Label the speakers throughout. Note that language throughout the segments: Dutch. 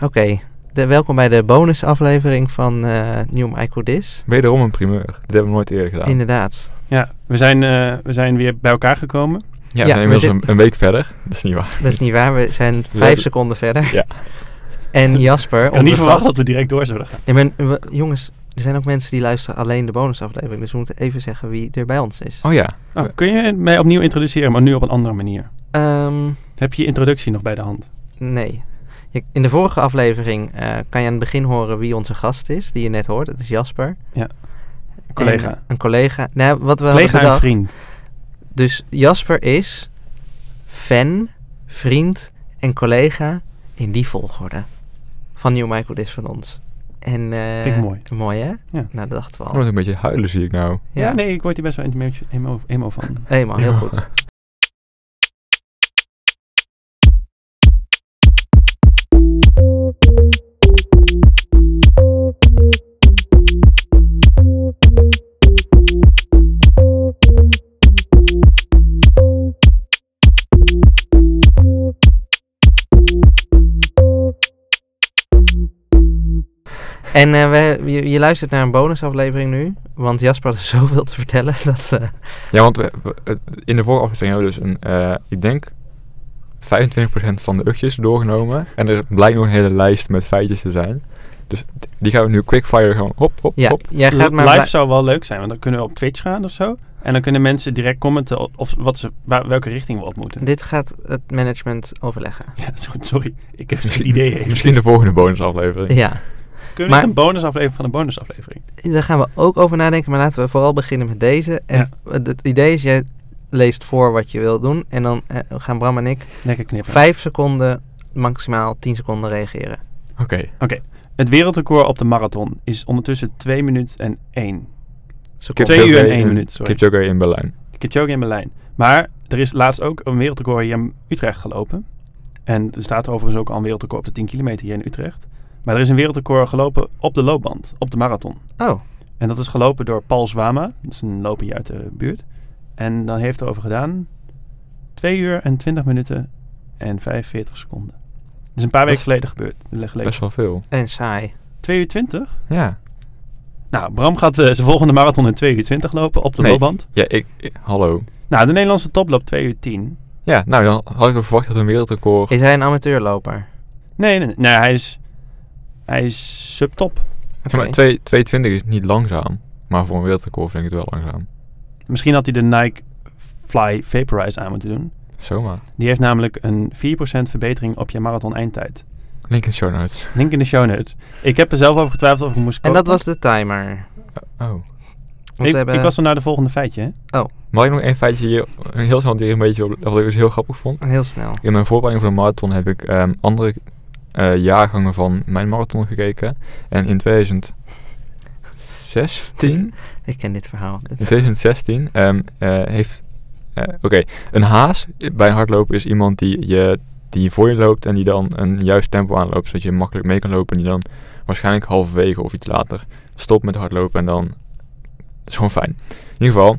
Speaker 1: Oké, de- welkom bij de bonusaflevering van eh Nieuw Ico Dis.
Speaker 2: Wederom een primeur. Dit hebben we nooit eerder gedaan.
Speaker 1: Inderdaad.
Speaker 3: Ja, we zijn, eh, we zijn weer bij elkaar gekomen.
Speaker 2: ja, we
Speaker 1: Ja,
Speaker 2: zijn
Speaker 1: we
Speaker 2: inmiddels
Speaker 1: zit-
Speaker 2: een, een week verder. Dat is niet waar.
Speaker 1: Dat is niet waar, we zijn vijf
Speaker 2: hebben-
Speaker 1: seconden verder.
Speaker 2: Ja.
Speaker 1: En Jasper,
Speaker 3: Ik had niet
Speaker 1: onze
Speaker 3: verwacht
Speaker 1: gast...
Speaker 3: dat we direct door zouden gaan.
Speaker 1: Nee, maar, we- jongens, er zijn ook mensen die luisteren alleen de bonusaflevering. Dus we moeten even zeggen wie er bij ons is.
Speaker 2: Oh ja.
Speaker 3: Oh, kun je mij opnieuw introduceren, maar nu op een andere manier?
Speaker 1: Ehm,
Speaker 3: Heb je je introductie nog bij de
Speaker 1: Eh,
Speaker 3: hand?
Speaker 1: nee. Je- in de vorige aflevering eh, kan je aan het begin horen wie onze gast is, die je net hoort. Dat is Jasper.
Speaker 3: Ja. collega.
Speaker 1: En, eh, een collega. Nou, wat we
Speaker 3: Collega
Speaker 1: hadden
Speaker 3: en
Speaker 1: bedacht...
Speaker 3: vriend.
Speaker 1: Dus Jasper is fan, vriend en collega in die volgorde. Van Nieuw Michael Dis van ons. En, eh,
Speaker 3: Vind ik mooi.
Speaker 1: Mooi hè?
Speaker 3: Ja.
Speaker 1: Nou, dat dachten we
Speaker 2: Dan
Speaker 1: al.
Speaker 2: moet ik een beetje huilen, zie ik nou.
Speaker 3: Ja. nee, ik word hier best wel een emo, emo van.
Speaker 1: Nee, man, heel goed. En eh, we, je, je luistert naar een bonusaflevering nu, want Jasper had zoveel te vertellen dat... eh,
Speaker 2: Ja, want we, we- eh, in de vorige aflevering hebben we dus een, eh, ik denk, 25% van de ukjes doorgenomen. En er blijkt nog een hele lijst met feitjes te zijn. Dus d- die gaan we nu quickfire gewoon hop, hop,
Speaker 1: Ja,
Speaker 2: hop.
Speaker 1: jij gaat maar
Speaker 3: Live
Speaker 1: blij-
Speaker 3: zou wel leuk zijn, want dan kunnen we op Twitch gaan of zo. En dan kunnen mensen direct commenten o- of wat ze, waar, welke richting we op moeten.
Speaker 1: Dit gaat het management overleggen.
Speaker 3: Ja, zo- sorry, ik heb geen idee. even.
Speaker 2: Misschien de volgende bonusaflevering.
Speaker 1: Ja,
Speaker 3: Kunnen we
Speaker 1: maar-
Speaker 3: niet een bonusaflevering van een bonusaflevering?
Speaker 1: daar gaan we ook over nadenken, maar laten we vooral beginnen met deze. En het, het idee is, jij leest voor wat je wil doen en dan eh, gaan Bram en ik
Speaker 3: Lekker knippen.
Speaker 1: vijf seconden, maximaal tien seconden reageren.
Speaker 2: Oké.
Speaker 3: Het wereldrecord op de marathon is ondertussen 2 minuten en 1.
Speaker 1: Seconden.
Speaker 3: Twee uur en
Speaker 2: Kipchoge
Speaker 3: één
Speaker 2: in-
Speaker 3: minuut, sorry.
Speaker 2: Kipchoge in Berlijn.
Speaker 3: Kipchoge in Berlijn. Maar er is laatst ook een wereldrecord hier in Utrecht gelopen. En er staat overigens ook al een wereldrecord op de 10 kilometer hier in Utrecht. Maar er is een wereldrecord gelopen op de loopband, op de marathon.
Speaker 1: Oh,
Speaker 3: En dat is gelopen door Paul Zwama. Dat is een loper hier uit de buurt. En dan heeft hij over gedaan 2 uur en 20 minuten en 45 seconden. Dat is een paar
Speaker 2: Dat
Speaker 3: weken geleden gebeurd. Geleden.
Speaker 2: Best wel veel.
Speaker 1: en saai.
Speaker 3: 2 uur 20?
Speaker 2: Ja.
Speaker 3: Nou, Bram gaat eh, zijn volgende marathon in 2 uur 20 lopen op de
Speaker 2: Nee.
Speaker 3: loopband.
Speaker 2: Ja, ik, ik- hallo.
Speaker 3: Nou, de Nederlandse top loopt 2 uur 10.
Speaker 2: Ja, nou dan had ik wel verwacht dat een wereldrecord...
Speaker 1: Is hij een amateurloper?
Speaker 3: Nee, nee, nee, nee, hij is, hij is subtop.
Speaker 1: Oké.
Speaker 2: Zeg maar, 2 220 is niet langzaam. Maar voor een wereldrecord vind ik het wel langzaam.
Speaker 3: Misschien had hij de Nike Fly Vaporize aan moeten doen.
Speaker 2: Zomaar.
Speaker 3: Die heeft namelijk een 4% verbetering op je marathon eindtijd.
Speaker 2: Link in show notes.
Speaker 3: Link in de show notes. Ik heb er zelf over getwijfeld of ik moest
Speaker 1: En
Speaker 3: kopen.
Speaker 1: dat was de timer.
Speaker 2: Oh.
Speaker 1: Want
Speaker 3: ik,
Speaker 1: we hebben...
Speaker 3: ik was er naar de volgende feitje. Hè?
Speaker 2: Mag ik nog één feitje hier, een heel snel die een beetje op, wat ik dus heel grappig vond?
Speaker 1: Heel snel.
Speaker 2: In mijn voorbereiding voor de marathon heb ik ehm, andere eh, jaargangen van mijn marathon gekeken. En in 2016,
Speaker 1: Ik ken dit verhaal.
Speaker 2: in 2016 ehm, eh, heeft... eh, Oké, een haas bij een hardlopen is iemand die, je, die voor je loopt en die dan een juist tempo aanloopt. Zodat je makkelijk mee kan lopen en die dan waarschijnlijk halverwege of iets later stopt met hardlopen en dan is gewoon fijn. In ieder geval,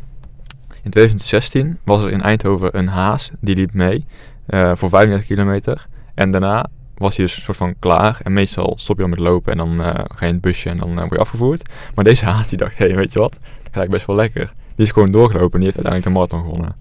Speaker 2: in 2016 was er in Eindhoven een haas die liep mee eh, voor 35 kilometer. En daarna was hij dus soort van klaar. En meestal stop je dan met lopen en dan eh, ga je in het busje en dan eh, word je afgevoerd. Maar deze haas die dacht, hé, hey, weet je wat? Dat gaat eigenlijk best wel lekker. Die is gewoon doorgelopen en die heeft uiteindelijk de marathon gewonnen.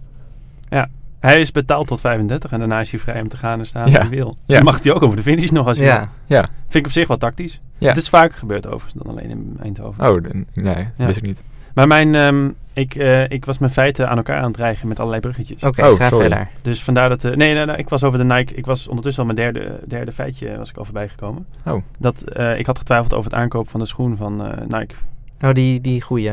Speaker 3: Hij is betaald tot 35 en daarna is hij vrij om te gaan en staan
Speaker 2: Ja.
Speaker 3: waar hij wil.
Speaker 2: Ja.
Speaker 3: Dan mag hij ook over de finish nog als hij wil.
Speaker 1: Ja,
Speaker 3: Vind ik op zich wel tactisch.
Speaker 2: Ja.
Speaker 3: Het is vaker gebeurd overigens dan alleen in Eindhoven.
Speaker 2: Oh, dan- nee,
Speaker 3: Ja.
Speaker 2: wist ik niet.
Speaker 3: Maar mijn, ehm, ik, eh, ik was mijn feiten aan elkaar aan het dreigen met allerlei bruggetjes.
Speaker 1: oké,
Speaker 2: Oh,
Speaker 1: ga
Speaker 2: sorry.
Speaker 1: verder.
Speaker 3: Dus vandaar dat... eh, nee, nee, nee, ik was over de Nike... Ik was ondertussen al mijn derde, derde feitje eh, was ik al voorbij gekomen.
Speaker 2: Oh.
Speaker 3: Dat, eh, ik had getwijfeld over het aankopen van de schoen van eh, Nike.
Speaker 1: Oh, die, die goeie.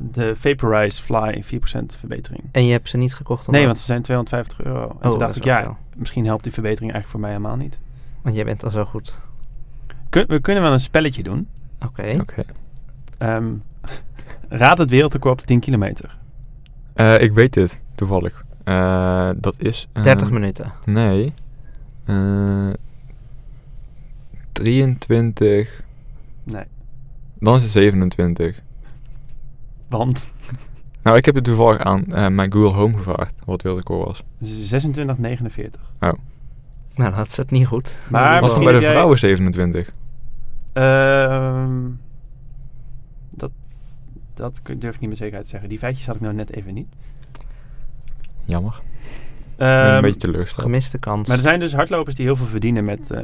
Speaker 3: De Vaporize Fly 4% verbetering.
Speaker 1: En je hebt ze niet gekocht?
Speaker 3: Nee,
Speaker 1: omdat-
Speaker 3: want ze zijn 250 euro. En
Speaker 1: Oh,
Speaker 3: toen
Speaker 1: dat
Speaker 3: dacht
Speaker 1: is
Speaker 3: ik,
Speaker 1: wel
Speaker 3: ja,
Speaker 1: veel.
Speaker 3: misschien helpt die verbetering eigenlijk voor mij helemaal niet.
Speaker 1: Want jij bent al zo goed.
Speaker 3: Kun- we kunnen wel een spelletje doen.
Speaker 1: Oké.
Speaker 2: Oké.
Speaker 3: Ehm, raad het wereldrecord op de 10 kilometer.
Speaker 2: Eh, ik weet dit, toevallig. Eh, dat is... eh,
Speaker 1: 30 minuten.
Speaker 2: Nee. Eh 23.
Speaker 3: Nee.
Speaker 2: Dan is het 27.
Speaker 3: Want
Speaker 2: Nou, ik heb het toevallig aan eh, mijn Google Home gevraagd, wat wilde ik was.
Speaker 3: het is 26,49.
Speaker 1: Nou, dat zat niet goed.
Speaker 3: Maar
Speaker 1: Dat was
Speaker 2: was dan
Speaker 3: misschien
Speaker 2: bij de
Speaker 3: heb jij-
Speaker 2: vrouwen 27.
Speaker 3: Ehm, dat, dat kun- durf ik niet met zekerheid te zeggen. Die feitjes had ik nou net even niet.
Speaker 2: Jammer. Ik ben
Speaker 3: Ehm,
Speaker 2: een beetje
Speaker 1: een
Speaker 2: teleurgesteld.
Speaker 1: gemiste kans.
Speaker 3: maar er zijn dus hardlopers die heel veel verdienen met, ehm,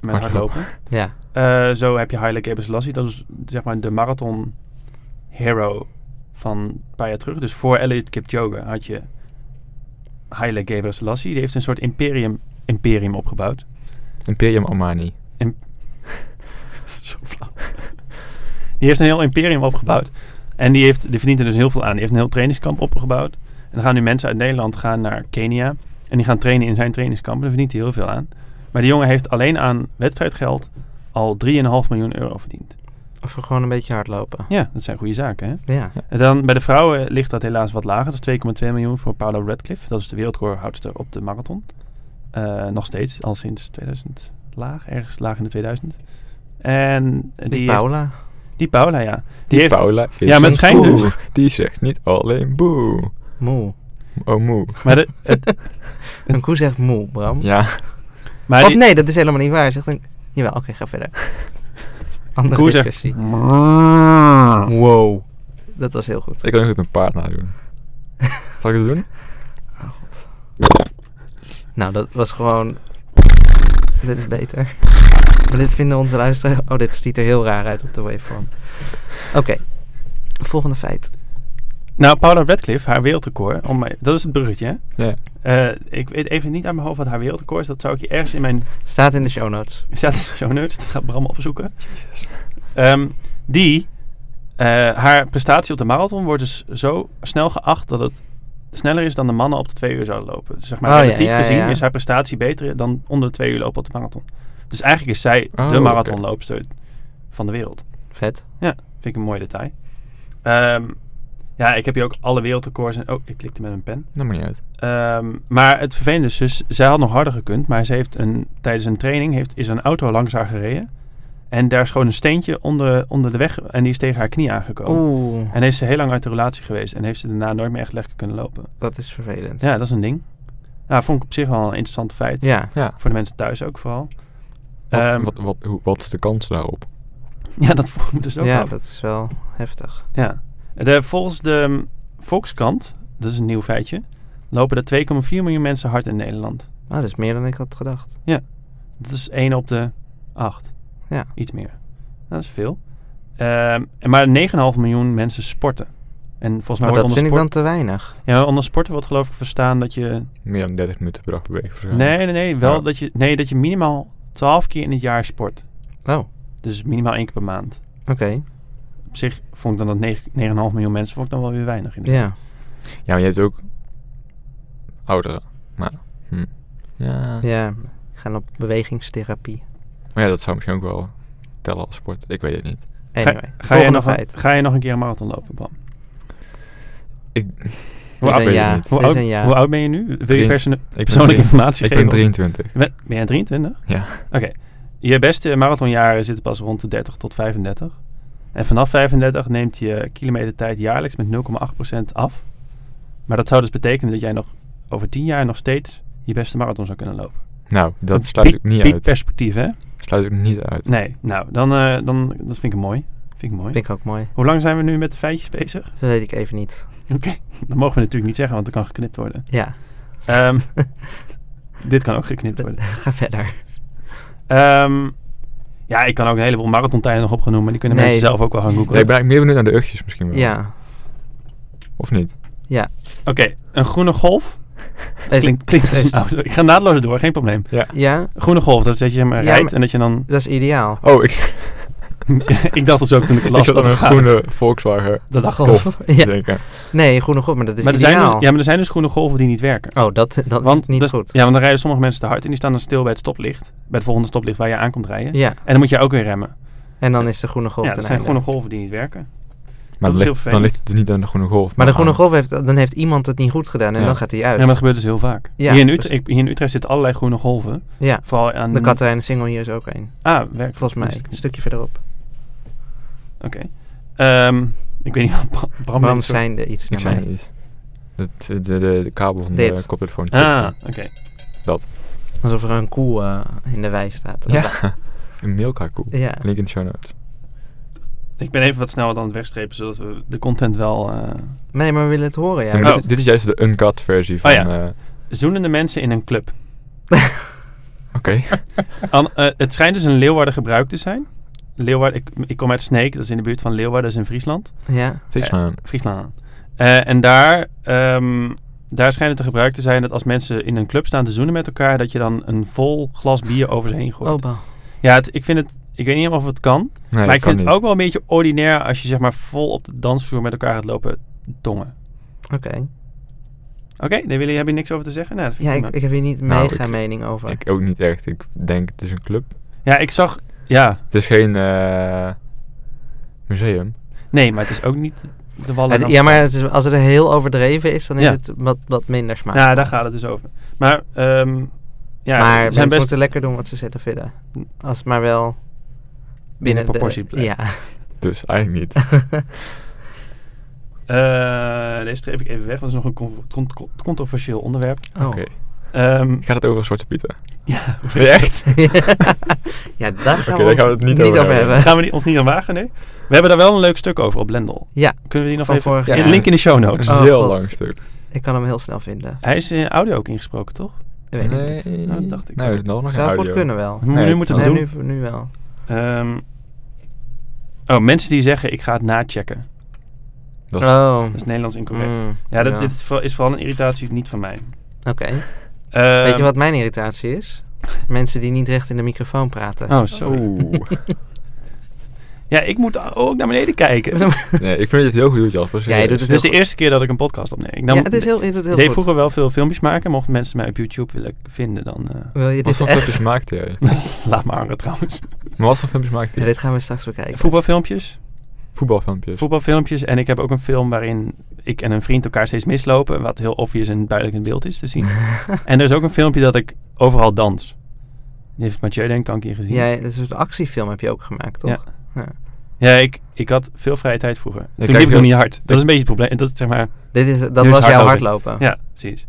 Speaker 3: met
Speaker 2: Hardlopen.
Speaker 3: hardlopen.
Speaker 1: Ja,
Speaker 3: Eh, zo heb je Haile Gebrselassie. Dat is zeg maar de marathon hero van een paar jaar terug. Dus voor Elliot Kipchoge had je Haile Gebrselassie. Die heeft een soort imperium, imperium opgebouwd.
Speaker 2: Imperium Armani.
Speaker 3: Zo flauw. Die heeft een heel imperium opgebouwd. En die, heeft, die verdient er dus heel veel aan. Die heeft een heel trainingskamp opgebouwd. En dan gaan nu mensen uit Nederland gaan naar Kenia. En die gaan trainen in zijn trainingskamp. En daar verdient hij heel veel aan. Maar die jongen heeft alleen aan wedstrijdgeld al 3,5 miljoen euro verdiend.
Speaker 1: of we gewoon een beetje hardlopen.
Speaker 3: Ja, dat zijn goede zaken, hè?
Speaker 1: Ja.
Speaker 3: En dan bij de vrouwen ligt dat helaas wat lager. Dat is 2,2 miljoen voor Paula Radcliffe. Dat is de wereldrecordhoudster op de marathon. Eh, nog steeds, al sinds 2000 laag, ergens laag in de 2000. En die,
Speaker 1: Die
Speaker 3: heeft-
Speaker 1: Paula.
Speaker 3: die Paula, ja. Die,
Speaker 2: Die,
Speaker 3: heeft,
Speaker 2: Paula is
Speaker 3: maar het
Speaker 2: een
Speaker 3: schijnt
Speaker 2: koe.
Speaker 3: dus-
Speaker 2: Die zegt niet alleen boe.
Speaker 1: Moe.
Speaker 2: Oh moe.
Speaker 3: Maar, de, het,
Speaker 1: Een koe zegt moe, Bram.
Speaker 2: Ja,
Speaker 3: maar
Speaker 1: of
Speaker 3: die-
Speaker 1: nee, dat is helemaal niet waar. Hij Zegt een... Jawel, oké, ga verder. Andere
Speaker 3: Koe zegt-
Speaker 1: discussie.
Speaker 3: Mm.
Speaker 1: Wow. Dat was heel goed.
Speaker 2: ik kan ook goed een paard nadoen. Zal ik het doen?
Speaker 1: Oh, God. Nou, dat was gewoon... Dit is beter. Maar dit vinden onze luisteraars... Oh, dit ziet er heel raar uit op de waveform. Oké. Volgende feit.
Speaker 3: Nou, Paula Radcliffe, haar wereldrecord. Om mij, dat is het bruggetje, hè?
Speaker 2: Ja.
Speaker 3: Eh, ik weet even niet uit mijn hoofd wat haar wereldrecord is. Dat zou ik je ergens in mijn
Speaker 1: Staat in de show notes.
Speaker 3: Staat in de show notes, dat gaat Bram opzoeken. Ehm, die, eh, haar prestatie op de marathon wordt dus zo snel geacht dat het sneller is dan de mannen op de twee uur zouden lopen. Dus zeg maar,
Speaker 1: Oh, ja,
Speaker 3: relatief
Speaker 1: ja,
Speaker 3: gezien
Speaker 1: ja.
Speaker 3: is haar prestatie beter dan onder de twee uur lopen op de marathon. Dus eigenlijk is zij
Speaker 2: Oh,
Speaker 3: de
Speaker 2: oké.
Speaker 3: marathonloopster van de wereld.
Speaker 1: Vet.
Speaker 3: Vind ik een mooi detail. Ehm, ja, ik heb hier ook alle wereldrecords. En, oh, ik klikte met een pen.
Speaker 2: Dat maakt niet uit.
Speaker 3: Ehm, maar het vervelende is, dus, zij had nog harder gekund, maar ze heeft een, tijdens een training heeft, is een auto langs haar gereden. En daar is gewoon een steentje onder, onder de weg en die is tegen haar knie aangekomen.
Speaker 1: Oeh,
Speaker 3: En is ze heel lang uit de relatie geweest en heeft ze daarna nooit meer echt lekker kunnen lopen.
Speaker 1: dat is vervelend.
Speaker 3: Ja, dat is een ding. Nou, vond ik op zich wel een interessant feit.
Speaker 1: Ja.
Speaker 2: Ja.
Speaker 3: Voor de mensen thuis ook vooral.
Speaker 2: Wat,
Speaker 3: Ehm,
Speaker 2: wat, wat, hoe- wat is de kans daarop?
Speaker 3: Ja, dat vroeg ik me dus ook
Speaker 1: Ja,
Speaker 3: af.
Speaker 1: dat is wel heftig.
Speaker 3: Ja. De, volgens de mm, Volkskrant, dat is een nieuw feitje, lopen er 2,4 miljoen mensen hard in Nederland.
Speaker 1: Nou, dat is meer dan ik had gedacht.
Speaker 3: Dat is 1 op de 8.
Speaker 1: Ja.
Speaker 3: Iets meer. Dat is veel. Ehm, en maar 9,5 miljoen mensen sporten. En volgens mij
Speaker 1: Maar
Speaker 3: wordt
Speaker 1: Nou, dat
Speaker 3: onder,
Speaker 1: vind ik
Speaker 3: sport,
Speaker 1: dan te weinig.
Speaker 3: ja, onder sporten wordt geloof ik verstaan dat je...
Speaker 2: Meer dan 30 minuten per dag bewegen waarschijnlijk.
Speaker 3: Nee, nee, nee. Wel
Speaker 2: Ja.
Speaker 3: dat je... Nee, dat je minimaal 12 keer in het jaar sport.
Speaker 1: Oh, oké.
Speaker 3: Dus minimaal één keer per maand. Op zich vond ik dan dat negen- 9,5 miljoen mensen vond ik dan wel weer weinig. In
Speaker 1: Ja.
Speaker 2: Ja, maar je hebt ook ouderen. Maar, hm. ja.
Speaker 1: Ja, ik ga op bewegingstherapie.
Speaker 2: Maar ja, dat zou misschien ook wel tellen als sport. Ik weet het niet.
Speaker 1: Anyway,
Speaker 3: ga, je
Speaker 1: volgende
Speaker 3: nog
Speaker 1: feit.
Speaker 3: Een, ga je nog een keer een marathon lopen, Bram?
Speaker 2: Ik,
Speaker 1: Dit is
Speaker 2: oud ben
Speaker 1: een
Speaker 2: je
Speaker 1: ja.
Speaker 2: niet?
Speaker 3: Hoe
Speaker 1: Dit is
Speaker 3: oud,
Speaker 1: een ja.
Speaker 3: hoe oud ben je nu? Wil je
Speaker 2: Drie-
Speaker 3: perso-
Speaker 2: ik ben,
Speaker 3: persoonlijke
Speaker 2: drie-
Speaker 3: informatie
Speaker 2: ik
Speaker 3: geven?
Speaker 2: ben 23.
Speaker 3: Ben, ben jij 23?
Speaker 2: Ja.
Speaker 3: Oké. Je beste marathonjaren zitten pas rond de 30 tot 35. En vanaf 35 neemt je kilometertijd jaarlijks met 0,8% af. Maar dat zou dus betekenen dat jij nog over 10 jaar nog steeds je beste marathon zou kunnen lopen.
Speaker 2: Nou, dat
Speaker 3: is
Speaker 2: sluit ik niet
Speaker 3: peak
Speaker 2: uit.
Speaker 3: perspectief, hè?
Speaker 2: Sluit ik niet uit.
Speaker 3: Nee. Nou, dan, eh, dan dat vind ik mooi. Vind ik mooi.
Speaker 1: Vind ik ook mooi.
Speaker 3: Hoe lang zijn we nu met de feitjes bezig?
Speaker 1: Dat weet ik even niet.
Speaker 3: Oké. Dat mogen we natuurlijk niet zeggen, want dat kan geknipt worden.
Speaker 1: Ja,
Speaker 3: Ehm, dit kan ook geknipt worden.
Speaker 1: ga verder.
Speaker 3: Ehm, ja, ik kan ook een heleboel marathontijden nog opgenoemen. Maar die kunnen
Speaker 1: Nee.
Speaker 3: mensen zelf ook wel gaan googlen.
Speaker 2: Nee, ik ben eigenlijk meer benieuwd naar de uchtjes misschien wel.
Speaker 1: Ja,
Speaker 2: Of niet?
Speaker 3: Oké, een groene golf.
Speaker 1: Deze-
Speaker 3: Klinkt, klinkt als
Speaker 1: deze-
Speaker 3: een auto. Ik ga naadloos door, geen probleem.
Speaker 1: ja
Speaker 3: Een groene golf, dat is dat je hem eh,
Speaker 1: Ja,
Speaker 3: rijdt
Speaker 1: maar-
Speaker 3: en dat je dan...
Speaker 1: dat is ideaal.
Speaker 2: Oh, ik,
Speaker 3: ik dacht dat zo ook toen ik het
Speaker 2: ik
Speaker 3: las.
Speaker 2: zat
Speaker 3: dat
Speaker 2: aan een
Speaker 3: we gaan-
Speaker 2: groene Volkswagen
Speaker 3: Dat dacht ik ook.
Speaker 1: Golf.
Speaker 2: te
Speaker 1: Ja.
Speaker 2: denken.
Speaker 1: Nee, groene golf, maar dat is
Speaker 3: Maar er, zijn dus,
Speaker 1: ideaal.
Speaker 3: ja, maar er zijn dus groene golven die niet werken.
Speaker 1: Oh, dat, dat
Speaker 3: Want
Speaker 1: is niet
Speaker 3: dat-
Speaker 1: goed.
Speaker 3: Ja, want dan rijden sommige mensen te hard en die staan dan stil bij het stoplicht. Bij het volgende stoplicht waar je aankomt rijden.
Speaker 1: Ja,
Speaker 3: En dan moet je ook weer remmen.
Speaker 1: en dan is de groene golf
Speaker 3: ja,
Speaker 1: ten
Speaker 3: dat zijn
Speaker 1: einde.
Speaker 3: groene golven die niet werken.
Speaker 2: Maar
Speaker 3: is
Speaker 2: dan
Speaker 3: heel
Speaker 2: ligt, dan
Speaker 3: vervelend.
Speaker 2: ligt het dus niet aan de groene golf.
Speaker 1: Maar de groene
Speaker 2: aan-
Speaker 1: golf, heeft, dan heeft iemand het niet goed gedaan en
Speaker 2: Ja.
Speaker 1: dan gaat hij
Speaker 3: Ja,
Speaker 1: uit.
Speaker 3: maar dat gebeurt dus heel vaak.
Speaker 1: Ja,
Speaker 3: hier, in Utrecht,
Speaker 1: precies.
Speaker 3: ik- hier in Utrecht zitten allerlei groene golven.
Speaker 1: Ja,
Speaker 3: Vooral aan...
Speaker 1: de Katerijnen single hier is ook één.
Speaker 3: Ah, werkt
Speaker 1: Volgens mij, een stukje verderop.
Speaker 3: Oké. Ehm, ik weet niet wat Bra- Bram...
Speaker 1: Waarom
Speaker 3: denkt, sorry.
Speaker 1: zijn er iets
Speaker 2: Ik
Speaker 1: naar
Speaker 2: zei
Speaker 1: mij?
Speaker 2: niet. De, de, de, de kabel van
Speaker 1: Dit.
Speaker 2: de koptelefoon.
Speaker 3: Ah, oké.
Speaker 2: Dat.
Speaker 1: Alsof er een koe eh, in de wei staat.
Speaker 2: Ja. Een mailkakoe.
Speaker 1: Ja.
Speaker 2: Link in de show notes.
Speaker 3: Ik ben even wat snel wat aan het wegstrepen, zodat we de content wel... eh,
Speaker 1: Nee, maar we willen het horen, ja.
Speaker 2: Ja, maar
Speaker 3: Oh.
Speaker 2: dit, dit is juist de uncut versie van...
Speaker 3: ja.
Speaker 2: eh,
Speaker 3: zoenende mensen in een club.
Speaker 2: Oké.
Speaker 3: An- eh, het schijnt dus een Leeuwarden gebruik te zijn. Leeuwarden, ik, ik kom uit Sneek, dat is in de buurt van Leeuwarden, dat is in Friesland.
Speaker 1: Ja.
Speaker 2: Friesland.
Speaker 3: Friesland. Eh, en daar, ehm, daar schijnt het een gebruik te zijn dat als mensen in een club staan te zoenen met elkaar, dat je dan een vol glas bier over ze heen gooit.
Speaker 1: Oh, bah.
Speaker 3: Ja, het- ik vind het, ik weet niet helemaal of het kan,
Speaker 2: Nee,
Speaker 3: maar
Speaker 2: kan
Speaker 3: ik vind
Speaker 2: niet.
Speaker 3: het ook wel een beetje ordinair als je zeg maar vol op de dansvloer met elkaar gaat lopen tongen.
Speaker 1: Oké.
Speaker 3: Oké, nee, Willy, heb je niks over te zeggen? Nou, dat vind
Speaker 1: Ja, ik,
Speaker 3: prima.
Speaker 1: ik heb hier niet
Speaker 2: Nou,
Speaker 1: mega
Speaker 2: ik-
Speaker 1: mening over.
Speaker 2: Ik ook niet echt. Ik denk, het is een club.
Speaker 3: ja, ik zag, ja,
Speaker 2: Het is geen eh, museum.
Speaker 3: nee, maar het is ook niet de wallen.
Speaker 1: Het- ja, maar het is, als het heel overdreven is, dan is
Speaker 3: Ja.
Speaker 1: het wat, wat minder smaak.
Speaker 3: Nou, daar gaat het dus over. Maar, ehm ja,
Speaker 1: maar
Speaker 3: het
Speaker 1: mensen
Speaker 3: zijn best
Speaker 1: moeten lekker doen wat ze zitten vinden. Als het maar wel binnen
Speaker 3: binnen proportie
Speaker 1: de...
Speaker 3: blijft.
Speaker 1: Ja.
Speaker 2: Dus eigenlijk niet.
Speaker 3: Eh, deze streep ik even weg, want het is nog een con- con- con- controversieel onderwerp.
Speaker 1: Oh.
Speaker 2: Oké.
Speaker 3: Ehm,
Speaker 2: Gaat het over Zwarte Pieten?
Speaker 3: ja, Oh,
Speaker 2: Ben je echt?
Speaker 1: ja, daar gaan,
Speaker 2: Oké,
Speaker 1: we,
Speaker 2: daar gaan
Speaker 1: ons
Speaker 2: we het niet over hebben.
Speaker 3: gaan we die- ons niet aan wagen, nee? We hebben daar wel een leuk stuk over op Blendel.
Speaker 1: Ja,
Speaker 3: Kunnen we die nog
Speaker 1: Van
Speaker 3: even...
Speaker 1: vorig
Speaker 3: Ja,
Speaker 1: jaar.
Speaker 3: Link in de show
Speaker 2: Het
Speaker 3: notes.
Speaker 2: is
Speaker 1: Oh,
Speaker 2: een heel
Speaker 1: God.
Speaker 2: lang stuk.
Speaker 1: ik kan hem heel snel vinden.
Speaker 3: Hij is in audio ook ingesproken, toch?
Speaker 1: Ik weet het niet.
Speaker 3: Oh, dat dacht ik.
Speaker 2: Nee, Nou,
Speaker 3: Oké.
Speaker 2: nog nog een
Speaker 1: Zou
Speaker 2: audio.
Speaker 1: goed kunnen wel.
Speaker 3: Nu- nu moeten we
Speaker 1: Nee,
Speaker 3: het
Speaker 1: nu, nu wel.
Speaker 3: doen. Ehm, oh, mensen die zeggen ik ga het nachecken.
Speaker 2: Dat is-
Speaker 1: oh.
Speaker 3: Dat is Nederlands incorrect.
Speaker 1: mm,
Speaker 3: Ja, dat, dit is vooral, is vooral een irritatie, niet van mij.
Speaker 1: Oké.
Speaker 3: Ehm,
Speaker 1: Weet je wat mijn irritatie is? Mensen die niet recht in de microfoon praten.
Speaker 3: Oh, sorry.
Speaker 2: Oeh.
Speaker 3: Ja, ik moet ook naar beneden kijken.
Speaker 2: Nee, ik vind het heel goed, Jasper.
Speaker 1: Jij doet het
Speaker 3: Dit is de
Speaker 1: heel
Speaker 3: eerste keer dat ik een podcast opneem. Ik nam-
Speaker 1: ja, het is heel, je doet heel
Speaker 3: deed
Speaker 1: goed.
Speaker 3: vroeger wel veel filmpjes maken. Mochten mensen mij op YouTube willen vinden, dan eh,
Speaker 1: Wil je
Speaker 2: Wat
Speaker 1: dit
Speaker 2: voor
Speaker 1: echt?
Speaker 2: filmpjes maakte jij?
Speaker 3: laat maar hangen trouwens.
Speaker 2: Maar wat voor filmpjes maakte
Speaker 1: Ja,
Speaker 2: je?
Speaker 1: dit gaan we straks bekijken.
Speaker 3: Voetbalfilmpjes.
Speaker 2: Voetbalfilmpjes.
Speaker 3: Voetbalfilmpjes. En ik heb ook een film waarin ik en een vriend elkaar steeds mislopen. Wat heel obvious en duidelijk in beeld is te zien. en er is ook een filmpje dat ik overal dans. Die heeft Mathieu denk ik al een keer gezien.
Speaker 1: Ja, dat is een soort actiefilm heb je ook gemaakt, toch?
Speaker 3: Ja. Ja, ik, ik had veel vrije tijd vroeger. Toen
Speaker 2: kijk,
Speaker 3: liep ik nog
Speaker 2: heel-
Speaker 3: niet hard. Dat is een beetje het probleem. Dat, is zeg maar,
Speaker 1: Dit is, dat
Speaker 3: Dit is
Speaker 1: was jouw
Speaker 3: hardlopen.
Speaker 1: hardlopen.
Speaker 3: Ja, precies.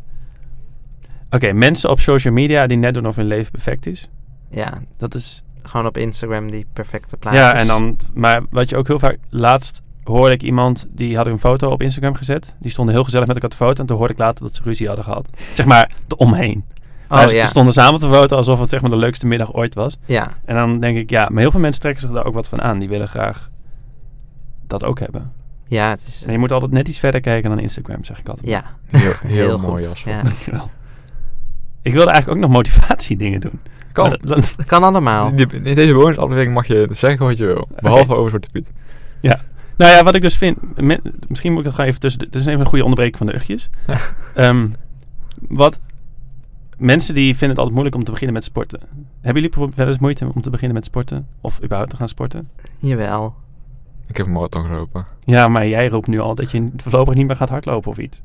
Speaker 3: Oké, mensen op social media die net doen of hun leven perfect is.
Speaker 1: Ja,
Speaker 3: Dat is
Speaker 1: gewoon op Instagram die perfecte plaatjes.
Speaker 3: Ja, en dan, maar wat je ook heel vaak, laatst hoorde ik iemand, die had een foto op Instagram gezet. Die stonden heel gezellig met elkaar op de foto en toen hoorde ik later dat ze ruzie hadden gehad. Zeg maar, de omheen.
Speaker 1: Oh
Speaker 3: ze
Speaker 1: ja.
Speaker 3: stonden samen op de foto alsof het zeg maar de leukste middag ooit was.
Speaker 1: ja,
Speaker 3: En dan denk ik, ja, maar heel veel mensen trekken zich daar ook wat van aan. Die willen graag dat ook hebben.
Speaker 1: ja, het is...
Speaker 3: Maar je moet altijd net iets verder kijken dan Instagram, zeg ik altijd.
Speaker 1: Ja.
Speaker 2: Heel, heel, mooi,
Speaker 1: goed.
Speaker 2: Jasper.
Speaker 1: Ja.
Speaker 3: Dankjewel. Ik wilde eigenlijk ook nog motivatiedingen doen.
Speaker 2: Kan.
Speaker 3: Maar dat- dat-
Speaker 1: Dat kan allemaal.
Speaker 2: Die- In deze bonusaflevering mag je zeggen wat je wil. Behalve over Zwarte Piet.
Speaker 3: Nou ja, wat ik dus vind, me- misschien moet ik dat gewoon even tussen. de- Het is even een goede onderbreking van de ugjes.
Speaker 2: Ja.
Speaker 3: Ehm, wat mensen die vinden het altijd moeilijk om te beginnen met sporten. Hebben jullie bijvoorbeeld wel eens moeite om te beginnen met sporten? Of überhaupt te gaan sporten?
Speaker 1: Jawel.
Speaker 2: Ik heb een marathon gelopen.
Speaker 3: Ja, maar jij roept nu al dat je voorlopig niet meer gaat hardlopen of iets.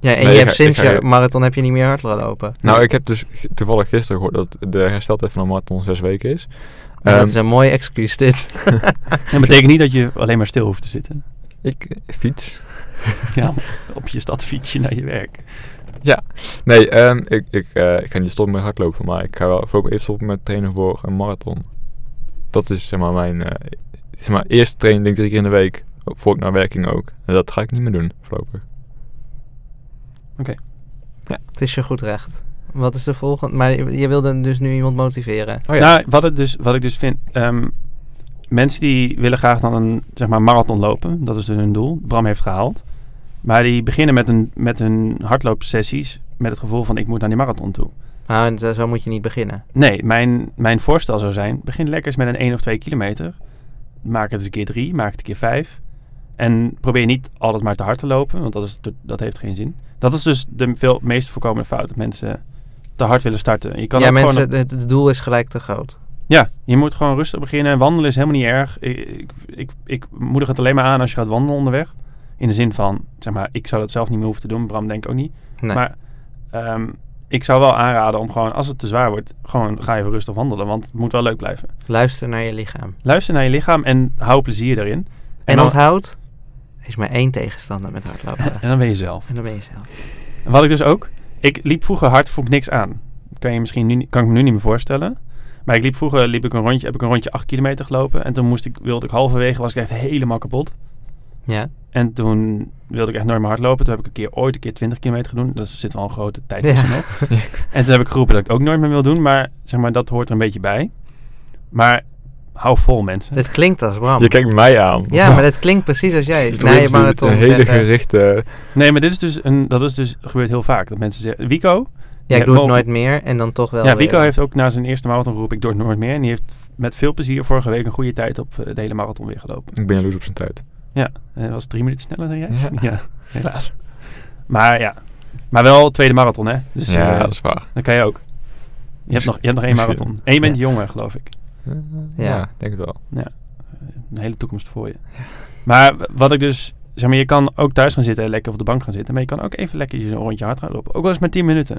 Speaker 1: Ja, en
Speaker 2: Nee,
Speaker 1: je
Speaker 2: ik
Speaker 1: hebt
Speaker 2: ga- ik
Speaker 1: sinds
Speaker 2: ga-
Speaker 1: je marathon heb je niet meer hardlopen.
Speaker 2: Nou, ik heb dus g- toevallig gisteren gehoord dat de hersteltijd van een marathon zes weken is.
Speaker 1: Ja,
Speaker 2: Ehm,
Speaker 1: dat is een mooi excuus dit.
Speaker 3: Dat betekent niet dat je alleen maar stil hoeft te zitten.
Speaker 2: Ik eh, fiets.
Speaker 3: Ja, op je stadfietsje naar je werk.
Speaker 2: Nee, ehm, ik, ik, eh, ik ga niet stoppen met hardlopen, maar ik ga wel voorlopig eerst stoppen met trainen voor een marathon. Dat is zeg maar mijn... eh, zeg maar, eerst trainen denk ik drie keer in de week, ook voor ik naar werking ook. En dat ga ik niet meer doen, voorlopig.
Speaker 1: Het is je goed recht. Wat is de volgende? Maar je, je wilde dus nu iemand motiveren.
Speaker 2: Oh ja.
Speaker 3: Nou, wat, het dus, wat ik dus vind. ehm, mensen die willen graag dan een zeg maar, marathon lopen. Dat is dus hun doel. Bram heeft gehaald. Maar die beginnen met hun, met hun hardloopsessies. Met het gevoel van ik moet naar die marathon toe.
Speaker 1: Nou, en zo, zo moet je niet beginnen.
Speaker 3: Nee, mijn, mijn voorstel zou zijn. Begin lekker eens met een 1 of 2 kilometer. Maak het eens een keer 3. Maak het een keer 5. En probeer niet altijd maar te hard te lopen. Want dat, is, te- dat heeft geen zin. Dat is dus de veel, meest voorkomende fout. Dat mensen te hard willen starten. Je kan
Speaker 1: ja,
Speaker 3: ook gewoon
Speaker 1: mensen, het, het doel is gelijk te groot.
Speaker 3: Ja, je moet gewoon rustig beginnen. Wandelen is helemaal niet erg. Ik, ik, ik, ik moedig het alleen maar aan als je gaat wandelen onderweg. In de zin van, zeg maar, ik zou dat zelf niet meer hoeven te doen. Bram denk ik ook niet.
Speaker 1: Nee.
Speaker 3: Maar ehm, ik zou wel aanraden om gewoon, als het te zwaar wordt, gewoon ga even rustig wandelen. Want het moet wel leuk blijven.
Speaker 1: Luister naar je lichaam.
Speaker 3: Luister naar je lichaam en hou plezier erin.
Speaker 1: En,
Speaker 3: dan,
Speaker 1: onthoud, er is maar één tegenstander met hardlopen.
Speaker 3: en dan ben je zelf.
Speaker 1: en dan ben je zelf.
Speaker 3: En Wat ik dus ook, ik liep vroeger hard, vond ik niks aan. kan, je misschien nu, niet- kan ik me nu niet meer voorstellen. Maar ik liep vroeger liep ik een rondje, heb ik een rondje 8 kilometer gelopen. En toen moest ik, wilde ik halverwege, was ik echt helemaal kapot.
Speaker 1: Ja.
Speaker 3: En toen wilde ik echt nooit meer hardlopen. Toen heb ik een keer ooit een keer 20 kilometer gedaan. Dat zit wel een grote tijd
Speaker 1: Ja.
Speaker 3: tussen nog. En toen heb ik geroepen dat ik ook nooit meer wil doen. Maar zeg maar, dat hoort er een beetje bij. Maar hou vol mensen.
Speaker 1: Dit klinkt als Bram.
Speaker 2: Je kijkt mij aan.
Speaker 1: Ja, maar dat klinkt precies als jij.
Speaker 2: Je
Speaker 1: Na je
Speaker 2: probeert
Speaker 1: marathon eh,
Speaker 2: Een hele
Speaker 1: zeggen,
Speaker 2: gerichte...
Speaker 3: Nee, maar dit is dus een, dat is dus gebeurt heel vaak. Dat mensen zeggen, Wico.
Speaker 1: ja, ik
Speaker 3: Ja,
Speaker 1: doe het
Speaker 3: mo-
Speaker 1: nooit meer en dan toch wel
Speaker 3: ja, Wico
Speaker 1: weer.
Speaker 3: heeft ook na zijn eerste marathon geroepen, ik doe het nooit meer. En die heeft met veel plezier vorige week een goede tijd op eh, de hele marathon weer gelopen.
Speaker 2: Ik ben jaloers op zijn tijd.
Speaker 3: Ja, en was het drie minuten sneller dan jij?
Speaker 2: Ja.
Speaker 3: helaas. Maar ja, maar wel tweede marathon hè. Dus
Speaker 2: ja,
Speaker 3: eh,
Speaker 2: dat is waar.
Speaker 3: dat kan je ook. Je hebt nog, je hebt nog één
Speaker 2: Misschien.
Speaker 3: marathon. En je bent
Speaker 1: Ja.
Speaker 3: jonger geloof ik. Eh,
Speaker 1: Ja.
Speaker 2: ja. denk het wel.
Speaker 3: een hele toekomst voor je. Maar w- wat ik dus... Zeg maar, je kan ook thuis gaan zitten en lekker op de bank gaan zitten. Maar je kan ook even lekker een rondje hard gaan lopen. Ook wel eens maar 10 minuten.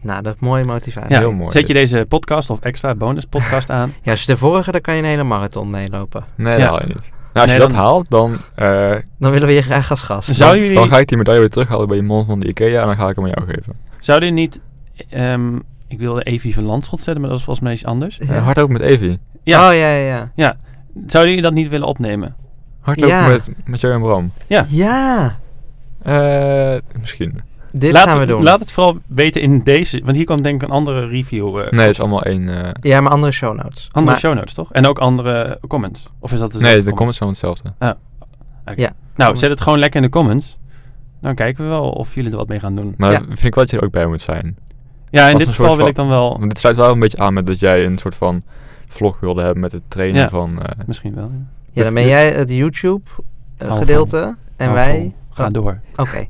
Speaker 1: Nou, dat is mooie motivatie.
Speaker 3: Ja,
Speaker 2: heel mooi
Speaker 3: Zet je
Speaker 2: dit.
Speaker 3: deze podcast of extra bonus podcast aan.
Speaker 1: Ja, als je de vorige, dan kan je een hele marathon meelopen.
Speaker 2: Nee,
Speaker 3: Ja.
Speaker 2: dat haal je niet. Nou, als
Speaker 3: Nee,
Speaker 2: je dat
Speaker 3: dan-
Speaker 2: haalt, dan, eh,
Speaker 1: Dan willen we je graag als gast.
Speaker 3: Zou
Speaker 1: Dan-
Speaker 3: jullie,
Speaker 2: dan ga ik die medaille weer terughalen bij die man van de Ikea en dan ga ik hem aan jou geven.
Speaker 3: Zouden jullie niet... ehm, ik wilde Evie van Landschot zetten, maar dat is volgens mij iets anders.
Speaker 1: Ja.
Speaker 2: Eh, hardlopen met Evie.
Speaker 3: Ja.
Speaker 1: Oh, ja, ja, ja.
Speaker 3: Zouden jullie dat niet willen opnemen?
Speaker 2: Hardlopen
Speaker 1: Ja.
Speaker 2: met, met jou en Bram.
Speaker 3: Ja.
Speaker 1: Ja,
Speaker 2: Eh, misschien.
Speaker 1: dit
Speaker 3: laat,
Speaker 1: gaan we doen.
Speaker 3: Laat het vooral weten in deze... Want hier kwam denk ik een andere review. eh,
Speaker 2: Nee, het is allemaal één... eh,
Speaker 1: Ja, maar andere show notes.
Speaker 3: Andere
Speaker 1: Maar-
Speaker 3: show notes, toch? En ook andere comments. Of is dat
Speaker 1: Dus
Speaker 3: dus
Speaker 2: nee,
Speaker 3: dezelfde
Speaker 2: de comments zijn hetzelfde.
Speaker 3: Nou,
Speaker 1: Comments.
Speaker 3: zet het gewoon lekker in de comments. Dan kijken we wel of jullie er wat mee gaan doen.
Speaker 2: Maar
Speaker 1: Ja.
Speaker 2: dat vind ik wel dat je er ook bij moet zijn.
Speaker 3: Ja,
Speaker 2: Als
Speaker 3: in dit
Speaker 2: een soort
Speaker 3: geval wil
Speaker 2: van-
Speaker 3: ik dan wel...
Speaker 2: Want dit sluit wel een beetje aan met dat jij een soort van vlog wilde hebben met het trainen
Speaker 3: Ja.
Speaker 2: van... eh,
Speaker 3: Misschien wel. ja.
Speaker 1: Ja, dan ben jij het YouTube-gedeelte en
Speaker 3: Hou
Speaker 1: wij...
Speaker 3: Nou, vol. Ga
Speaker 1: Oh.
Speaker 3: door.
Speaker 1: Oké. Misschien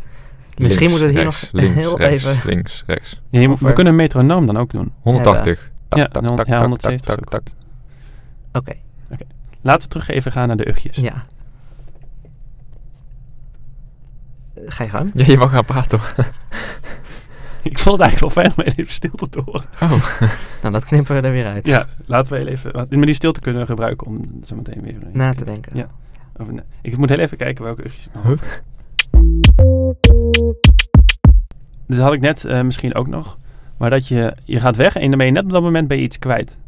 Speaker 2: links,
Speaker 1: moeten we het hier
Speaker 2: rechts,
Speaker 1: nog
Speaker 2: links,
Speaker 1: heel
Speaker 2: rechts,
Speaker 1: even...
Speaker 2: Links, rechts.
Speaker 3: Ja, je moet- we
Speaker 1: Over.
Speaker 3: kunnen een metronoom dan ook doen.
Speaker 2: 180.
Speaker 3: Ja, dan- ja, 170 is ook goed.
Speaker 1: Oké,
Speaker 3: Laten we terug even gaan naar de uchtjes.
Speaker 1: ja. Ga je gang.
Speaker 2: Ja, je mag gaan praten hoor.
Speaker 3: Ik vond het eigenlijk wel fijn om heel even stilte te horen.
Speaker 1: Nou, dat knippen we er weer uit.
Speaker 3: Ja, laten we heel even... Maar die stilte kunnen we gebruiken om zo meteen weer... eh,
Speaker 1: Na te denken.
Speaker 3: Ja. over na- Ik moet heel even kijken welke uchtjes... ik nog
Speaker 2: Huh?
Speaker 3: heb. Dit had ik net eh, misschien ook nog. Maar dat je... Je gaat weg en dan ben je net op dat moment ben je iets kwijt.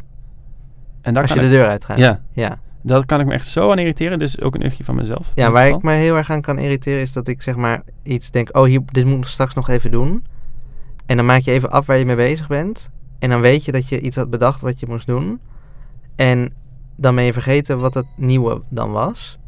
Speaker 3: En daar
Speaker 1: Als je
Speaker 3: kan
Speaker 1: de deur uitgaat.
Speaker 3: ik, Ja,
Speaker 1: Ja,
Speaker 3: Dat kan ik me echt zo aan irriteren. Dus ook een uchtje van mezelf. in
Speaker 1: ja
Speaker 3: dit
Speaker 1: waar
Speaker 3: geval.
Speaker 1: ik me heel erg aan kan irriteren is dat ik zeg maar iets denk... Oh, hier, dit moet ik straks nog even doen. En dan maak je even af waar je mee bezig bent. En dan weet je dat je iets had bedacht wat je moest doen. En dan ben je vergeten wat het nieuwe dan was.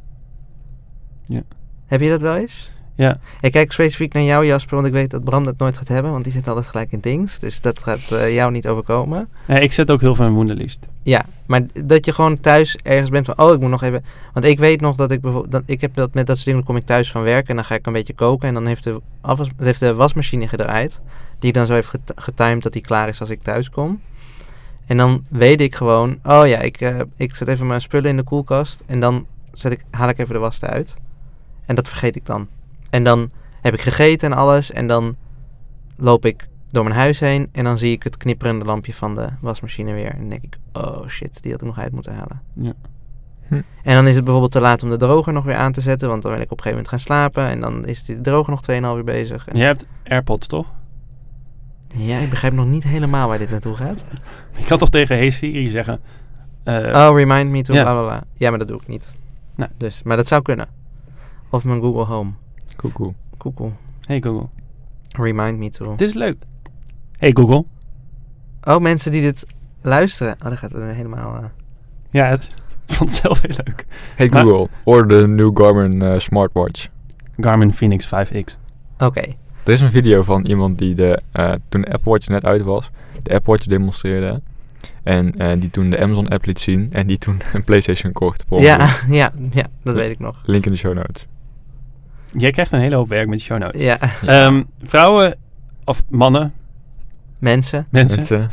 Speaker 3: Ja.
Speaker 1: Heb je dat wel eens?
Speaker 3: Ja.
Speaker 1: Ik kijk specifiek naar jou, Jasper, want ik weet dat Bram dat nooit gaat hebben. Want die zit altijd gelijk in things. Dus dat gaat eh, jou niet overkomen.
Speaker 3: Nee, ik zet ook heel veel in woenderliest.
Speaker 1: Ja, maar d- dat je gewoon thuis ergens bent van, oh, ik moet nog even... Want ik weet nog dat ik bijvoorbeeld... Dat, ik heb dat met dat soort dingen, dan kom ik thuis van werk en dan ga ik een beetje koken. En dan heeft de, afwas, dat heeft de wasmachine gedraaid, die dan zo heeft get- getimed dat die klaar is als ik thuis kom. En dan weet ik gewoon, oh ja, ik, eh, ik zet even mijn spullen in de koelkast en dan zet ik, haal ik even de was eruit. En dat vergeet ik dan. En dan heb ik gegeten en alles en dan loop ik door mijn huis heen en dan zie ik het knipperende lampje van de wasmachine weer. En dan denk ik, oh shit, die had ik nog uit moeten halen.
Speaker 3: Ja.
Speaker 2: Hm.
Speaker 1: En dan is het bijvoorbeeld te laat om de droger nog weer aan te zetten, want dan ben ik op een gegeven moment gaan slapen en dan is die droger nog 2,5 uur bezig. En
Speaker 3: En jij hebt AirPods, toch?
Speaker 1: Ja, ik begrijp nog niet helemaal waar dit naartoe gaat.
Speaker 3: Ik kan toch tegen Hey Siri zeggen... eh,
Speaker 1: oh, remind me to
Speaker 3: Ja.
Speaker 1: bla bla bla. Ja, maar dat doe ik niet.
Speaker 3: Nee.
Speaker 1: Dus, maar dat zou kunnen. Of mijn Google Home.
Speaker 2: Koekoe.
Speaker 1: Google,
Speaker 3: Hey Google.
Speaker 1: remind me to.
Speaker 3: Dit is leuk. Hey Google.
Speaker 1: Oh, mensen die dit luisteren. Oh, dat gaat het helemaal... eh,
Speaker 3: Ja, het ik vond het zelf heel leuk.
Speaker 2: Hey
Speaker 3: Maar-
Speaker 2: Google, order the new Garmin eh, smartwatch.
Speaker 3: Garmin Phoenix 5X.
Speaker 1: Oké.
Speaker 2: Er is een video van iemand die de, eh, toen de Apple Watch net uit was, de Apple Watch demonstreerde. En eh, die toen de Amazon app liet zien en die toen een Playstation kocht. per ongeluk.
Speaker 1: Ja, ja, ja, dat weet ik nog.
Speaker 2: Link in de show notes.
Speaker 3: Jij krijgt een hele hoop werk met de show notes.
Speaker 1: Ja,
Speaker 3: Ehm, vrouwen, of mannen,
Speaker 1: mensen.
Speaker 3: mensen,
Speaker 2: Met, eh,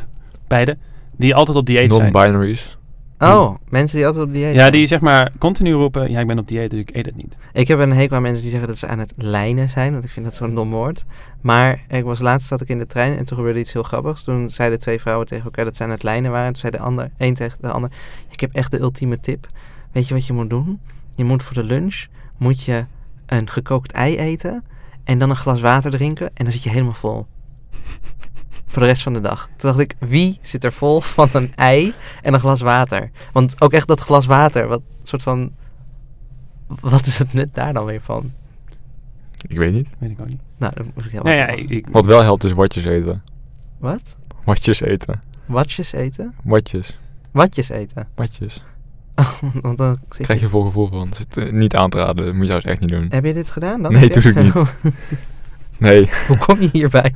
Speaker 3: beide, die altijd op dieet zijn.
Speaker 2: Non-binaries.
Speaker 1: Oh, mensen die altijd op dieet
Speaker 3: Ja,
Speaker 1: zijn.
Speaker 3: die zeg maar continu roepen... Ja, ik ben op dieet, dus ik eet het niet.
Speaker 1: Ik heb een hekel aan mensen die zeggen dat ze aan het lijnen zijn, want ik vind dat zo'n dom woord. Maar ik was laatst zat ik in de trein en toen gebeurde iets heel grappigs. Toen zeiden twee vrouwen tegen elkaar dat ze aan het lijnen waren. En toen zei de ander, één tegen de ander, ik heb echt de ultieme tip. Weet je wat je moet doen? Je moet voor de lunch, moet je een gekookt ei eten en dan een glas water drinken en dan zit je helemaal vol. Voor de rest van de dag. Toen dacht ik, wie zit er vol van een ei en een glas water? Want ook echt dat glas water, wat soort van... Wat is het nut daar dan weer van?
Speaker 2: Ik weet niet.
Speaker 3: Weet ik ook niet.
Speaker 1: Nou, dan moest ik heel
Speaker 3: Nou ja,
Speaker 1: erg lachen.
Speaker 3: ik, ik-
Speaker 2: Wat wel helpt is watjes eten.
Speaker 1: Wat?
Speaker 2: Watjes eten.
Speaker 1: Watjes eten?
Speaker 2: Watjes.
Speaker 1: Watjes eten? Oh,
Speaker 2: Watjes.
Speaker 1: Want dan zit je-
Speaker 2: Krijg je vol gevoel van. Zit, eh, niet aan te raden. Dat moet je zelfs echt niet
Speaker 3: Eh.
Speaker 2: doen.
Speaker 1: Heb je dit gedaan dan?
Speaker 2: Nee, tuurlijk niet. Nee.
Speaker 1: Hoe kom je hierbij?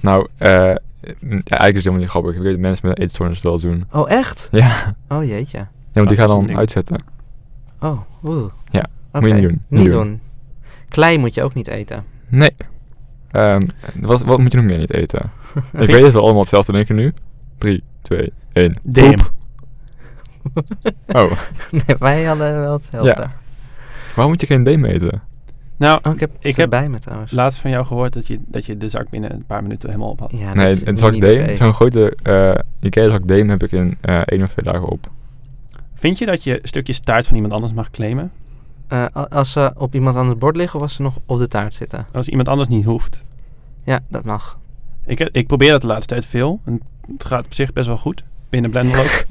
Speaker 2: Nou, eh, ja, eigenlijk is het helemaal niet grappig. Ik weet dat mensen met een eetstoornis wel doen.
Speaker 1: Oh, echt?
Speaker 2: Ja.
Speaker 1: Oh, jeetje.
Speaker 2: Ja, want die gaan
Speaker 3: Dat is een
Speaker 2: dan
Speaker 3: ding.
Speaker 2: uitzetten.
Speaker 1: Oh, oeh.
Speaker 2: Ja,
Speaker 1: Oké,
Speaker 2: moet je niet doen. Niet
Speaker 1: Niet
Speaker 2: doen.
Speaker 1: doen. Klei moet je ook niet eten.
Speaker 2: Nee. Ehm, wat, wat moet je nog meer niet eten? ik weet dat we allemaal hetzelfde denken nu. 3, 2, 1.
Speaker 3: DM.
Speaker 2: Oh,
Speaker 1: nee, wij hadden wel hetzelfde.
Speaker 2: waarom moet je geen DM eten?
Speaker 3: Nou,
Speaker 1: Oh, ik heb
Speaker 3: Ik
Speaker 1: ik
Speaker 3: heb
Speaker 1: heb bij me trouwens.
Speaker 3: laatst van jou gehoord dat je, dat je de zak binnen een paar minuten helemaal op had.
Speaker 1: Ja,
Speaker 2: nee,
Speaker 1: dat is
Speaker 2: een zak
Speaker 1: niet
Speaker 2: DM,
Speaker 1: oké.
Speaker 2: zo'n grote eh Ikea-zak DM heb ik in eh één of twee dagen op.
Speaker 3: Vind je dat je stukjes taart van iemand anders mag claimen?
Speaker 1: Eh, a- als ze op iemand aan het bord liggen of als ze nog op de taart zitten.
Speaker 3: Als iemand anders niet hoeft.
Speaker 1: Ja, dat mag.
Speaker 3: Ik, heb- ik probeer dat de laatste tijd veel. En het gaat op zich best wel goed. Binnen Blender ook.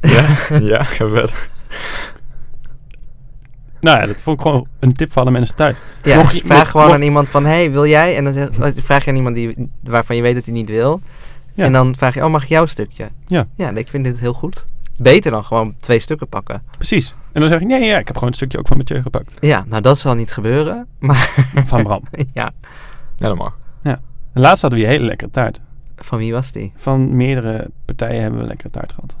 Speaker 2: ja, ga verder.
Speaker 3: nou ja, dat vond ik gewoon een tip voor alle mensen thuis.
Speaker 1: Ja,
Speaker 3: Nog-
Speaker 1: dus vraag
Speaker 3: nog-
Speaker 1: gewoon
Speaker 3: nog-
Speaker 1: aan iemand van, hey, wil jij? En dan zeg, als- vraag je aan iemand die, waarvan je weet dat hij niet wil.
Speaker 3: Ja.
Speaker 1: En dan vraag je, oh, mag ik jouw stukje?
Speaker 3: Ja.
Speaker 1: Ja, ik vind dit heel goed. Beter dan gewoon twee stukken pakken.
Speaker 3: Precies. En dan zeg ik, nee, ja, ik heb gewoon een stukje ook van Mathieu gepakt.
Speaker 1: Ja, nou dat zal niet gebeuren. Maar
Speaker 3: Van Bram.
Speaker 1: ja,
Speaker 2: Ja, dat mag.
Speaker 3: En laatst hadden we die hele lekkere taart.
Speaker 1: van wie was die?
Speaker 3: Van meerdere partijen hebben we lekkere taart gehad.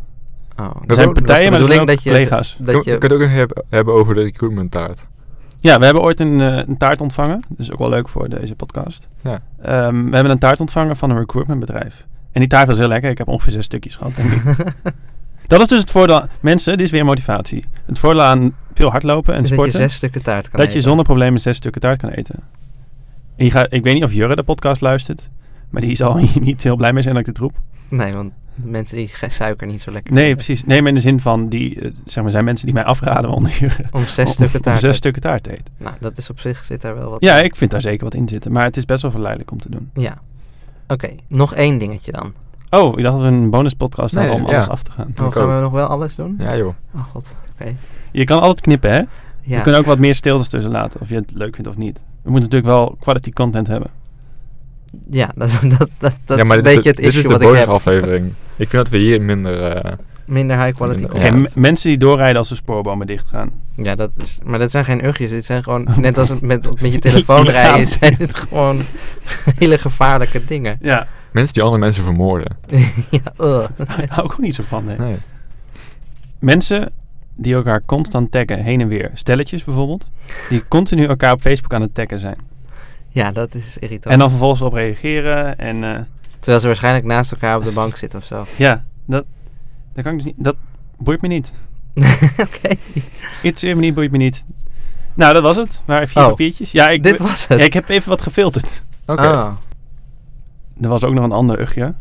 Speaker 1: Oh,
Speaker 3: Er
Speaker 2: Dat
Speaker 3: zijn
Speaker 2: ook-
Speaker 3: partijen, maar
Speaker 1: dat
Speaker 3: er
Speaker 1: is de
Speaker 3: zijn ook
Speaker 1: bedoeling dat je-
Speaker 3: collega's.
Speaker 1: dat
Speaker 2: je...
Speaker 1: je...
Speaker 2: kunt het ook nog hebben, hebben over de recruitment taart.
Speaker 3: Ja, we hebben ooit een, eh, een taart ontvangen. Dat is ook wel leuk voor deze podcast.
Speaker 2: Ja.
Speaker 3: Ehm, we hebben een taart ontvangen van een recruitmentbedrijf. En die taart was heel lekker. Ik heb ongeveer zes stukjes gehad. denk ik. dat is dus het voordeel. Mensen, dit is weer motivatie. Het voordeel aan veel hardlopen en
Speaker 1: Dus dat je
Speaker 3: sporten.
Speaker 1: zes stukken taart kan
Speaker 3: dat je
Speaker 1: eten.
Speaker 3: zonder problemen zes stukken taart kan eten. En je gaat, ik weet niet of Jurre de podcast luistert. Maar die zal hier niet heel blij mee zijn dat ik dit roep.
Speaker 1: Nee, want de mensen die ge- suiker niet zo lekker
Speaker 3: Nee,
Speaker 1: vinden.
Speaker 3: precies. Nee, maar in de zin van, die, eh, zeg maar, zijn mensen die mij afraden onder Jurre.
Speaker 1: Om
Speaker 3: om-
Speaker 1: zes stukken
Speaker 3: om
Speaker 1: taart.
Speaker 3: Zes
Speaker 1: uit-
Speaker 3: stukken taart te eten.
Speaker 1: Nou, dat is op zich zit daar wel wat.
Speaker 3: Ja, ik vind daar zeker wat in zitten. Maar het is best wel verleidelijk om te doen.
Speaker 1: Ja. Oké, nog één dingetje dan.
Speaker 3: Oh, ik dacht dat we een bonuspodcast hadden
Speaker 2: Nee,
Speaker 3: om
Speaker 2: ja.
Speaker 3: alles af te gaan.
Speaker 1: Oh,
Speaker 2: ik
Speaker 1: gaan we
Speaker 2: ook.
Speaker 1: nog wel alles doen?
Speaker 2: Ja joh.
Speaker 1: Oh god, oké.
Speaker 3: Je kan altijd knippen, hè? Je
Speaker 1: Ja.
Speaker 3: kunt ook wat meer stiltes tussen laten, of je het leuk vindt of niet. We moeten natuurlijk wel quality content hebben.
Speaker 1: ja, dat, dat, dat, dat
Speaker 2: ja,
Speaker 1: is een
Speaker 2: maar dit de-
Speaker 1: beetje het
Speaker 2: dit is
Speaker 1: issue
Speaker 2: de
Speaker 1: wat ik heb.
Speaker 2: bonusaflevering. ik vind dat we hier minder... eh,
Speaker 1: Minder high quality
Speaker 2: Minder-
Speaker 3: Oké,
Speaker 1: content.
Speaker 3: m- mensen die doorrijden als de spoorbomen dichtgaan.
Speaker 1: Ja, dat is... Maar dat zijn geen ugjes. Dit zijn gewoon... Net als met, met je telefoon rijden
Speaker 3: Illegaal.
Speaker 1: zijn dit gewoon hele gevaarlijke dingen.
Speaker 3: Ja,
Speaker 2: mensen die andere mensen vermoorden.
Speaker 1: ja, ugh.
Speaker 3: daar hou ik ook niet zo van, nee.
Speaker 2: Nee.
Speaker 3: Mensen die elkaar constant taggen, heen en weer. Stelletjes bijvoorbeeld, die continu elkaar op Facebook aan het taggen zijn.
Speaker 1: Ja, dat is irritant.
Speaker 3: En dan vervolgens op reageren en... eh,
Speaker 1: Terwijl ze waarschijnlijk naast elkaar op de bank zitten of zo.
Speaker 3: ja, dat, dat kan ik dus niet... Dat boeit me niet.
Speaker 1: Oké.
Speaker 3: Iets meer niet, boeit me niet. Nou, dat was het. Maar vier
Speaker 1: Oh.
Speaker 3: papiertjes. Ja, ik,
Speaker 1: Dit was het.
Speaker 3: ja, ik heb even wat gefilterd.
Speaker 2: Oké.
Speaker 1: Oh.
Speaker 3: Er was ook nog een ander ugje.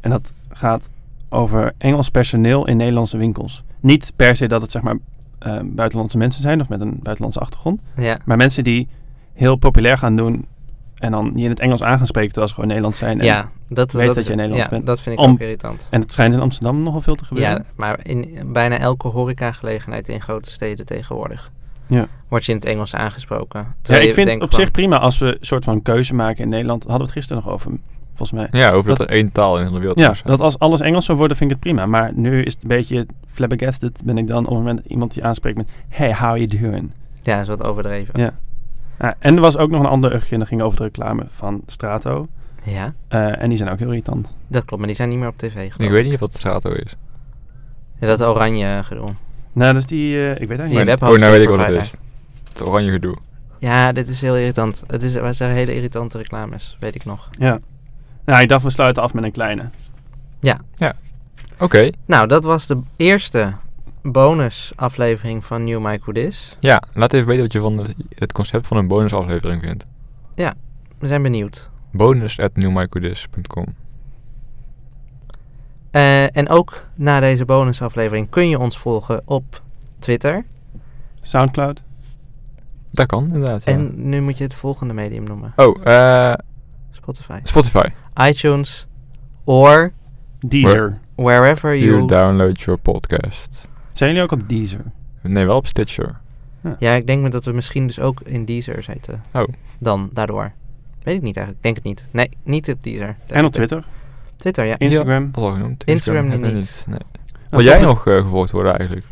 Speaker 3: En dat gaat over Engels personeel in Nederlandse winkels. Niet per se dat het zeg maar eh, buitenlandse mensen zijn of met een buitenlandse achtergrond.
Speaker 1: Ja.
Speaker 3: Maar mensen die heel populair gaan doen en dan je in het Engels aan gaan spreken terwijl ze gewoon Nederlands zijn. En,
Speaker 1: Ja, dat,
Speaker 3: Weet
Speaker 1: dat,
Speaker 3: dat je in Nederland
Speaker 1: ja,
Speaker 3: bent.
Speaker 1: dat vind ik
Speaker 3: Om-
Speaker 1: ook irritant.
Speaker 3: en het schijnt in Amsterdam nogal veel te gebeuren.
Speaker 1: Ja, maar in bijna elke horecagelegenheid in grote steden tegenwoordig
Speaker 3: Ja.
Speaker 1: wordt je in het Engels aangesproken.
Speaker 3: Ja,
Speaker 1: Terwijl
Speaker 3: ik
Speaker 1: je
Speaker 3: vind
Speaker 1: denkt
Speaker 3: op zich
Speaker 1: van,
Speaker 3: prima als we een soort van keuze maken in Nederland. Hadden we het gisteren nog over, volgens mij.
Speaker 2: Ja, over dat,
Speaker 3: Dat-
Speaker 2: er één taal in de hele wereld
Speaker 3: Ja,
Speaker 2: is.
Speaker 3: dat als alles Engels zou worden, vind ik het prima. Maar nu is het een beetje flabbergasted ben ik dan op het moment dat iemand je aanspreekt met... Hey, how you doing?
Speaker 1: Ja, is wat overdreven.
Speaker 3: Ja. Ja, Eh, en er was ook nog een ander ugje en dat ging over de reclame van Strato.
Speaker 1: Ja,
Speaker 3: Eh, en die zijn ook heel irritant.
Speaker 1: dat klopt. Maar die zijn niet meer op tv geloof
Speaker 2: Ik weet niet wat Strato is.
Speaker 1: Ja, dat oranje gedoe.
Speaker 3: Nou, dus die... eh, ik weet eigenlijk
Speaker 1: Die
Speaker 3: niet.
Speaker 2: Maar-
Speaker 1: webhost
Speaker 2: oh, nou weet ik wat
Speaker 1: provider.
Speaker 2: het is. Het oranje gedoe.
Speaker 1: Ja, dit is heel irritant. Het is, het zijn hele irritante reclames, weet ik nog.
Speaker 3: Ja. Nou, ik dacht we sluiten af met een kleine.
Speaker 2: Oké,
Speaker 1: Nou, dat was de eerste bonusaflevering van New Mike Who Dis.
Speaker 2: ja. Laat even weten wat je van het, het concept van een bonusaflevering vindt.
Speaker 1: We zijn benieuwd.
Speaker 2: Bonus at newmycodis.com.
Speaker 1: Eh, en ook na deze bonusaflevering kun je ons volgen op Twitter.
Speaker 3: Soundcloud.
Speaker 2: Dat kan inderdaad. ja.
Speaker 1: En nu moet je het volgende medium noemen.
Speaker 2: Oh, eh,
Speaker 1: Spotify.
Speaker 2: Spotify.
Speaker 1: iTunes. Or
Speaker 3: Deezer.
Speaker 1: wherever
Speaker 2: You
Speaker 1: you...
Speaker 2: download your podcast.
Speaker 3: Zijn jullie ook op Deezer?
Speaker 2: Nee, wel op Stitcher.
Speaker 1: Ja, ik denk dat we misschien dus ook in Deezer zitten.
Speaker 2: Oh.
Speaker 1: Dan, daardoor. Weet ik niet eigenlijk. Ik Denk het niet. Nee, niet op Deezer.
Speaker 3: En op Twitter?
Speaker 1: Twitter, ja.
Speaker 3: Instagram?
Speaker 2: Dat was al genoemd.
Speaker 1: Instagram
Speaker 2: hebben we
Speaker 1: niet.
Speaker 2: Nee. Wil
Speaker 3: Nou,
Speaker 2: jij
Speaker 3: toch
Speaker 2: nog eh, gevolgd worden eigenlijk?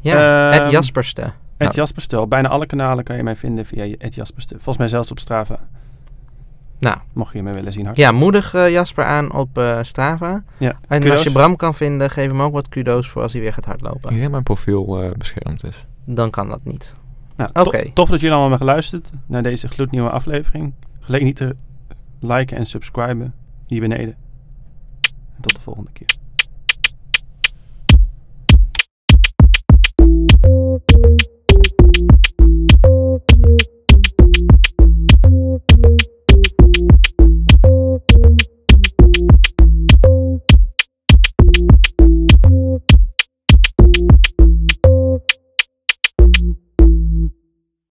Speaker 1: Ja, het
Speaker 3: Ehm,
Speaker 1: Jasperste.
Speaker 2: Nou.
Speaker 3: Het Jasperste. Bijna alle kanalen kan je mij vinden via het Jasperste. Volgens mij zelfs op Strava.
Speaker 1: Nou.
Speaker 3: Mocht je mij willen zien. Hart.
Speaker 1: Ja, moedig eh, Jasper aan op eh, Strava.
Speaker 3: Ja.
Speaker 1: En
Speaker 3: Kudos.
Speaker 1: als je Bram kan vinden, geef hem ook wat kudo's voor als hij weer gaat hardlopen.
Speaker 2: Ik denk dat mijn profiel eh, beschermd is.
Speaker 1: Dan kan dat niet.
Speaker 3: Nou,
Speaker 1: Oké.
Speaker 3: to- tof dat jullie allemaal hebben geluisterd naar deze gloednieuwe aflevering. Vergeet niet te liken en subscriben hier beneden. En tot de volgende keer.